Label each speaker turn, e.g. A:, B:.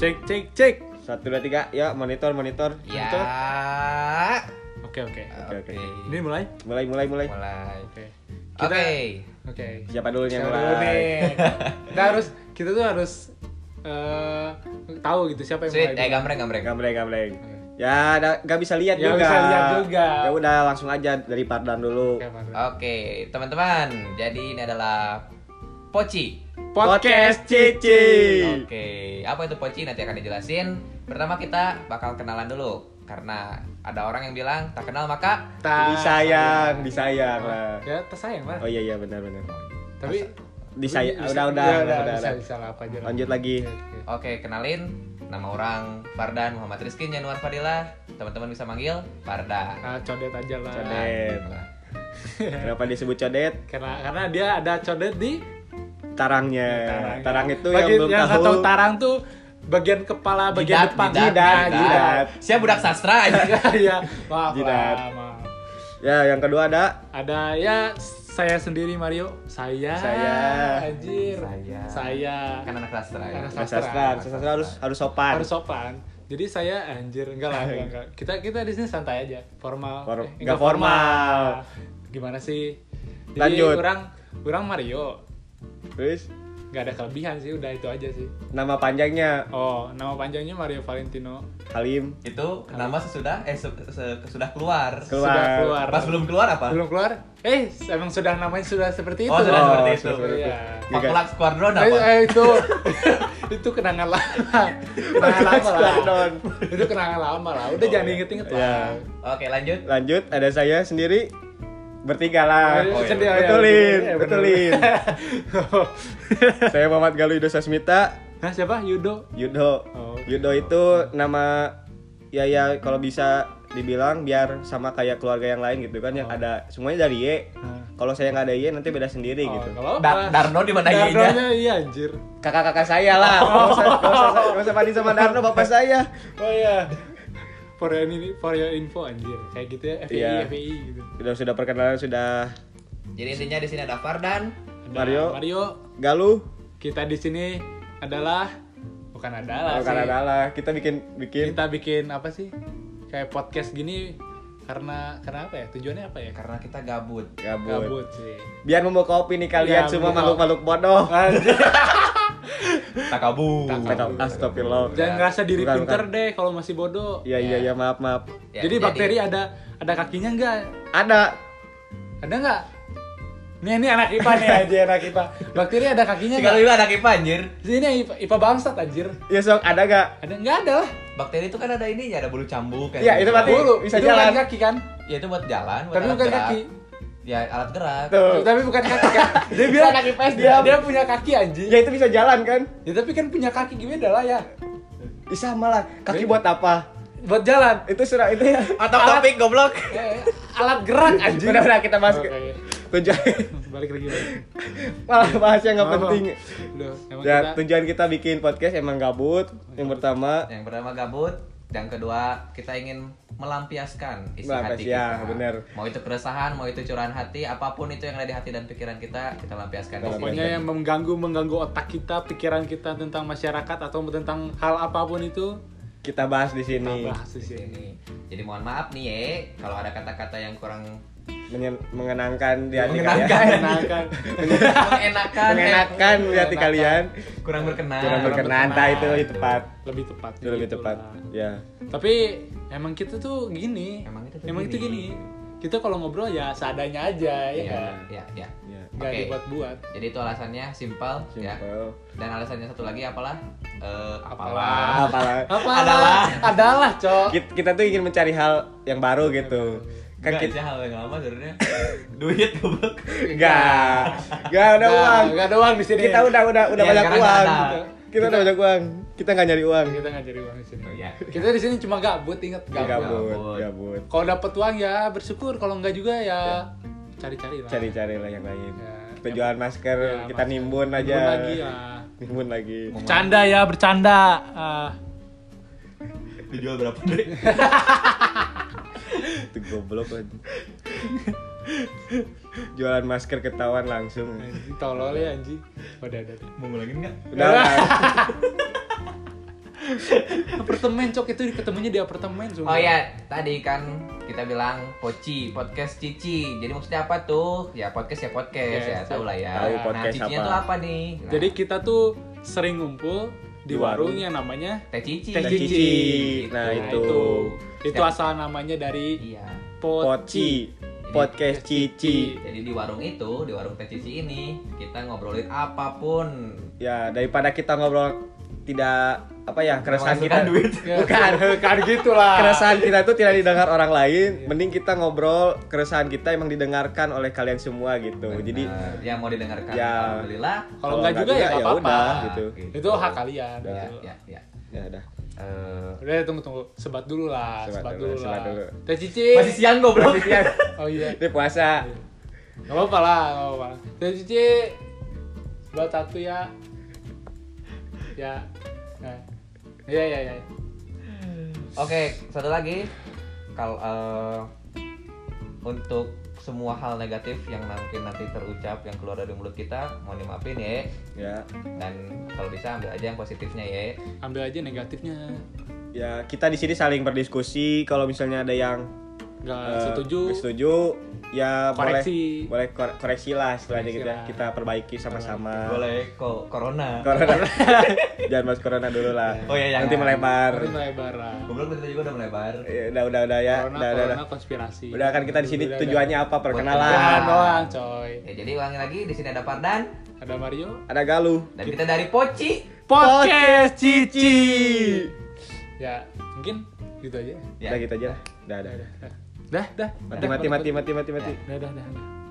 A: Cek cek cek.
B: Satu dua tiga, ya monitor monitor.
A: Ya.
B: Monitor.
A: Oke oke.
B: Oke, oke.
C: Oke.
A: Ini mulai.
B: Mulai mulai mulai.
C: Mulai.
A: Oke. Kita-
C: Oke.
A: Oke.
B: Siapa dulu yang
A: Siapa
B: mulai?
A: dulu nih? Kita harus kita tuh harus eh tahu gitu siapa yang
C: Sweet, eh
A: mulai.
C: gambreng gambreng.
B: Gambreng gambreng. Ya, da- nggak bisa lihat
A: Nggak
B: juga.
A: bisa lihat juga.
B: Ya udah langsung aja dari Pardan dulu.
A: Oke, Pak.
C: Ah. Oke, teman-teman. Jadi ini adalah Poci.
A: Podcast
B: Cici.
C: Oke, apa itu poci nanti akan dijelasin. Pertama kita bakal kenalan dulu karena ada orang yang bilang tak kenal maka
A: tak
B: Disayang, disayang lah.
A: Ya, tersayang lah.
B: Oh iya iya benar benar.
A: Tapi
B: Disayang.
A: Bisa-
B: Udah udah
A: iya,
B: udah
A: udah,
B: udah.
A: bisa,
B: udah.
A: bisa lah, apa aja lah.
B: Lanjut lagi.
A: Oke, oke.
C: Oke, kenalin nama orang Fardan Muhammad Rizky Januar Fadila. Teman-teman bisa manggil Fardan. Nah,
A: Ah, codet aja lah.
B: Codet. Kenapa disebut codet?
A: Karena karena dia ada codet di
B: Tarangnya.
A: Iya, tarangnya.
B: Eh, Tarang itu
A: Bagi
B: yang belum
A: nggak
B: tahu.
A: tarang tuh bagian kepala bagian
C: Jidat,
A: depan
C: jidat,
A: Nah,
B: jidat.
C: Siap budak sastra aja.
A: Iya, maaf
B: Jidat.
A: lah, maaf.
B: Ya, yang kedua ada
A: Ada ya saya sendiri Mario, saya,
B: Saya.
A: anjir,
C: Saya.
A: saya,
C: kan anak sastra ya.
A: Anak Sastra.
B: sastra. Sastra harus harus sopan.
A: harus sopan. Jadi saya anjir enggak lah, enggak, enggak. Kita kita di sini santai aja, formal.
B: Form-
A: Eh,
B: enggak formal.
A: Gimana sih? Jadi
B: Lanjut.
A: orang orang Mario
B: Terus
A: nggak ada kelebihan sih, udah itu aja sih.
B: nama panjangnya
A: Oh, nama panjangnya Mario Valentino.
B: Halim
C: Itu nama sesudah eh se- se- sesudah keluar.
B: Keluar.
A: Sudah keluar.
C: Pas belum keluar apa?
A: belum keluar eh emang sudah namanya sudah seperti itu
C: Oh, sudah
A: Bang.
C: seperti itu.
A: Iya.
C: Pakulak Squadron
A: Eh,
C: apa?
A: eh, itu itu kenangan lama kenangan lama lah
B: Squadron.
A: itu kenangan lama lah udah jangan diinget-inget lah
B: Iya.
C: Oke, lanjut.
B: Lanjut ada saya sendiri bertiga lah.
C: Oh, iya.
A: Sedih, ya.
B: Ah, Betulin,
A: Iya, bener.
B: betulin. Saya Muhammad Galuh Yudo Sasmita.
A: Hah, siapa Yudo
B: Yudo.
A: Oh, oke.
B: Yudo itu nama ya ya kalau bisa dibilang biar sama kayak keluarga yang lain gitu kan yang
A: Oh.
B: ada semuanya dari Y.
A: Hah.
B: Kalau saya nggak ada Y nanti beda sendiri
A: Oh,
B: Nah, gitu.
A: nggak apa-apa.
C: Dar- Darno di mana Y-nya?
A: Darnonya iya anjir
B: Kakak-kakak saya lah. Nggak usah nggak usah- nggak usah banding sama Darno bapak saya.
A: oh iya for your, ini- for your info anjir kayak gitu ya FPI
B: Iya.
A: FPI gitu
B: Sudah sudah perkenalan sudah
C: Jadi intinya di sini ada Fardan,
A: Ada
B: Mario.
A: Mario
B: Galuh
A: kita di sini adalah bukan adalah
B: Bukan
A: sih.
B: adalah kita bikin bikin
A: kita bikin apa sih kayak podcast gini karena karena apa ya tujuannya apa ya
C: karena kita gabut.
B: gabut.
A: gabut sih
B: Biar membawa opini
A: Iya,
B: kalian semua
A: membawa-
B: makhluk-makhluk bodoh.
C: Takabu.
B: Takab- Astagfirullah.
C: Ya.
A: jangan ngerasa diri
B: Bukan,
A: pinter
B: bukan.
A: deh kalau masih bodoh
B: Iya iya iya maaf maaf.
C: Ya,
A: jadi bakteri ada ada kakinya nggak
B: Ada
A: ada nggak nih ini anak ipa nih aja anak ipa bakteri ada kakinya
C: Tinggal
A: nggak
C: bilang anak IPA anjir.
A: ini ipa, IPA bangsat anjir
B: Ya sok ada gak?
A: ada nggak ada lah
C: Bakteri itu kan ada ininya, ada bulu cambuk kan.
B: Iya, itu berarti-
A: bulu
B: bisa
A: itu bukan
B: jalan.
A: kaki kan
C: Ya itu buat jalan, buat
A: Tapi
C: alat
A: bukan
C: gerak.
A: kaki.
C: Ya alat gerak.
B: Tuh.
A: tapi bukan kaki kan dia bilang anak ipa dia dia punya kaki anjir
B: Ya itu bisa jalan kan?
A: ya tapi kan punya kaki gimana lah ya
B: Ih, sama lah. Kaki
A: Beda.
B: buat apa?
A: buat jalan
B: Itu sudah itu ya.
C: Atau topik goblok.
A: Eh, alat gerak anjing.
B: Udah udah kita bahas.
A: Oke.
B: ke- Tujuan
A: Balik lagi. balik.
B: malah bahas yang nggak
A: Maaf,
B: penting.
A: Bang. Udah, emang
B: Ya
A: kita
B: tujuan kita bikin podcast emang gabut. Yang pertama
C: Yang pertama gabut, yang kedua kita ingin melampiaskan isi hati
B: Melampiaskan,
C: kita.
B: bener.
C: Mau itu keresahan, mau itu curahan hati, apapun itu yang ada di hati dan pikiran kita, kita lampiaskan di sini.
A: pokoknya yang mengganggu mengganggu otak kita, pikiran kita tentang masyarakat atau tentang hal apapun itu
B: kita bahas di
A: kita
B: sini
A: bahas di
C: Di
A: sini.
C: sini. Jadi mohon maaf nih ye, kalau ada kata-kata yang kurang
B: Menyen- mengenangkan di hati
C: Mengenangkan.
B: kalian.
A: Menyenangkan.
C: mengenakan, eh,
B: Mengenakan di hati
A: Mengenakan.
B: kalian.
C: kurang berkenan.
B: Kurang berkenan,
A: Nah, berkenan.
B: nah itu lebih tepat.
A: Lebih tepat.
B: Itu lebih
A: gitu
B: tepat.
A: lah.
B: Ya.
A: Tapi emang kita tuh gini.
C: Emang kita tuh
A: itu
C: gini.
A: gini. Kita kalau ngobrol ya seadanya aja ya.
C: Iya,
A: kan?
C: iya, iya.
B: Ya.
A: Nggak
C: Oke.
A: dibuat-buat.
C: Jadi itu alasannya simpel ya.
B: Simple.
C: Dan alasannya satu lagi apalah? Eh,
A: Apalah.
B: Apalah.
A: Apalah.
C: Adalah.
A: Adalah, Cok.
B: Kita, kita tuh ingin mencari hal yang baru gitu. Kan
C: Kan
B: kita
C: kita hal yang lama sebenarnya. Duit goblok.
B: Enggak. Enggak ada
A: Nah,
B: uang.
A: nggak ada uang di sini.
B: Kita udah udah udah
C: Iya,
B: banyak
C: sekarang
B: uang. gitu.
C: nggak ada.
B: Kita udah banyak uang. Kita nggak nyari uang.
A: Kan kita nggak cari uang di sini.
C: Oh, iya.
A: Kita di sini cuma gabut, inget gabut.
B: Gabut,
C: Gabut.
B: gabut.
A: Kalau dapat uang ya bersyukur, kalau nggak juga ya cari-cari lah.
B: Cari-cari lah yang lain.
A: Ya.
B: Kita jualan masker,
A: Ya,
B: kita
A: masker.
B: nimbun
A: Nimbun
B: aja.
A: lagi ya.
B: Nimbun lagi.
A: Bercanda ya, bercanda. Ah,
C: Dijual berapa deh?
B: Itu goblok aja. jualan masker ketahuan langsung.
A: anjing tolol ya anjing. Udah, udah. udah.
C: Mau ngulangin enggak?
B: Udah. lah.
A: apartemen cok itu ketemunya di apartemen cuma.
C: Oh
B: iya.
C: ya, tadi kan kita bilang Poci, podcast Cici. Jadi maksudnya apa tuh? Ya podcast ya podcast
A: Ya,
C: ya, tahu lah ya.
B: tahu
C: nah,
B: podcast
C: Cicinya
B: apa.
C: tuh apa nih? Nah,
A: Jadi kita tuh sering ngumpul di
B: Di warung.
A: warung yang namanya
C: Teh Cici.
A: Teh
B: Teh
A: Cici.
B: Cici. Nah,
A: Nah,
B: itu.
A: Itu
C: Ya.
A: asal namanya dari
C: Iya.
A: Poci.
B: Poci. Podcast Cici.
C: Jadi di warung itu, di warung Teh Cici ini, kita ngobrolin apapun.
B: Ya, daripada kita ngobrol tidak apa ya keresahan
C: Menghasilkan
B: kita
C: duit.
A: Bukan, bukan gitu lah.
B: keresahan kita itu tidak didengar orang lain mending kita ngobrol keresahan kita emang didengarkan oleh kalian semua gitu jadi
C: Benar. yang mau didengarkan,
B: Ya.
C: alhamdulillah.
A: Kalau nggak juga ya nggak apa-apa.
B: udah,
C: Nah,
B: gitu
A: Itu hak kalian.
B: Udah.
C: Ya,
A: gitu.
C: ya, ya.
B: ya udah
C: Eh,
A: Udah tunggu tunggu, sebat dulu lah, sebat,
B: Sebat dulu,
A: dulu,
B: sebat
A: lah.
B: dulu.
A: Teh Cici.
C: masih siang goblok.
A: Oh iya.
B: ini puasa
A: Gak apa-apa lah, gak apa-apa. Teh Cici. Sebat satu ya. Ya. Nah. Iya iya iya.
C: Oke, satu lagi. Kalau eh, untuk semua hal negatif yang mungkin nanti terucap yang keluar dari mulut kita, mohon dimaafin ya.
B: ya
C: Dan kalau bisa ambil aja yang positifnya ya.
A: Ambil aja negatifnya.
B: ya kita di sini saling berdiskusi kalau misalnya ada yang
A: Gak
B: eh,
A: setuju.
B: nggak setuju ya
A: Koreksi.
B: boleh boleh kor- koreksi lah istilahnya
A: Koreksi
B: gitu ya.
A: lah.
B: kita perbaiki sama-sama
C: Boleh kok corona.
B: corona jangan mas corona dulu lah
C: Oh iya,
B: nanti
C: jangan.
B: melebar
A: Terus lebar lah.
C: Goblok kita juga udah melebar.
B: Ya, udah udah udah ya
A: Corona,
B: udah udah udah
A: corona konspirasi.
B: udah kan kita di sini
A: Udah, udah.
B: tujuannya apa
A: Perkenalan
B: perkenalan
A: doang, coy.
C: Ya, jadi ulangi lagi di sini ada Pardan
A: Ada Mario.
B: ada galuh
C: dan kita dari Poci.
A: Podcast Cici. Ya, mungkin gitu aja.
C: Ya,
B: Udah gitu aja lah. Udah, udah.
A: Dah,
B: udah.
A: dah. Dah, dah.
B: Mati, mati, mati, mati, mati, mati.
A: Dah, dah, dah. dah.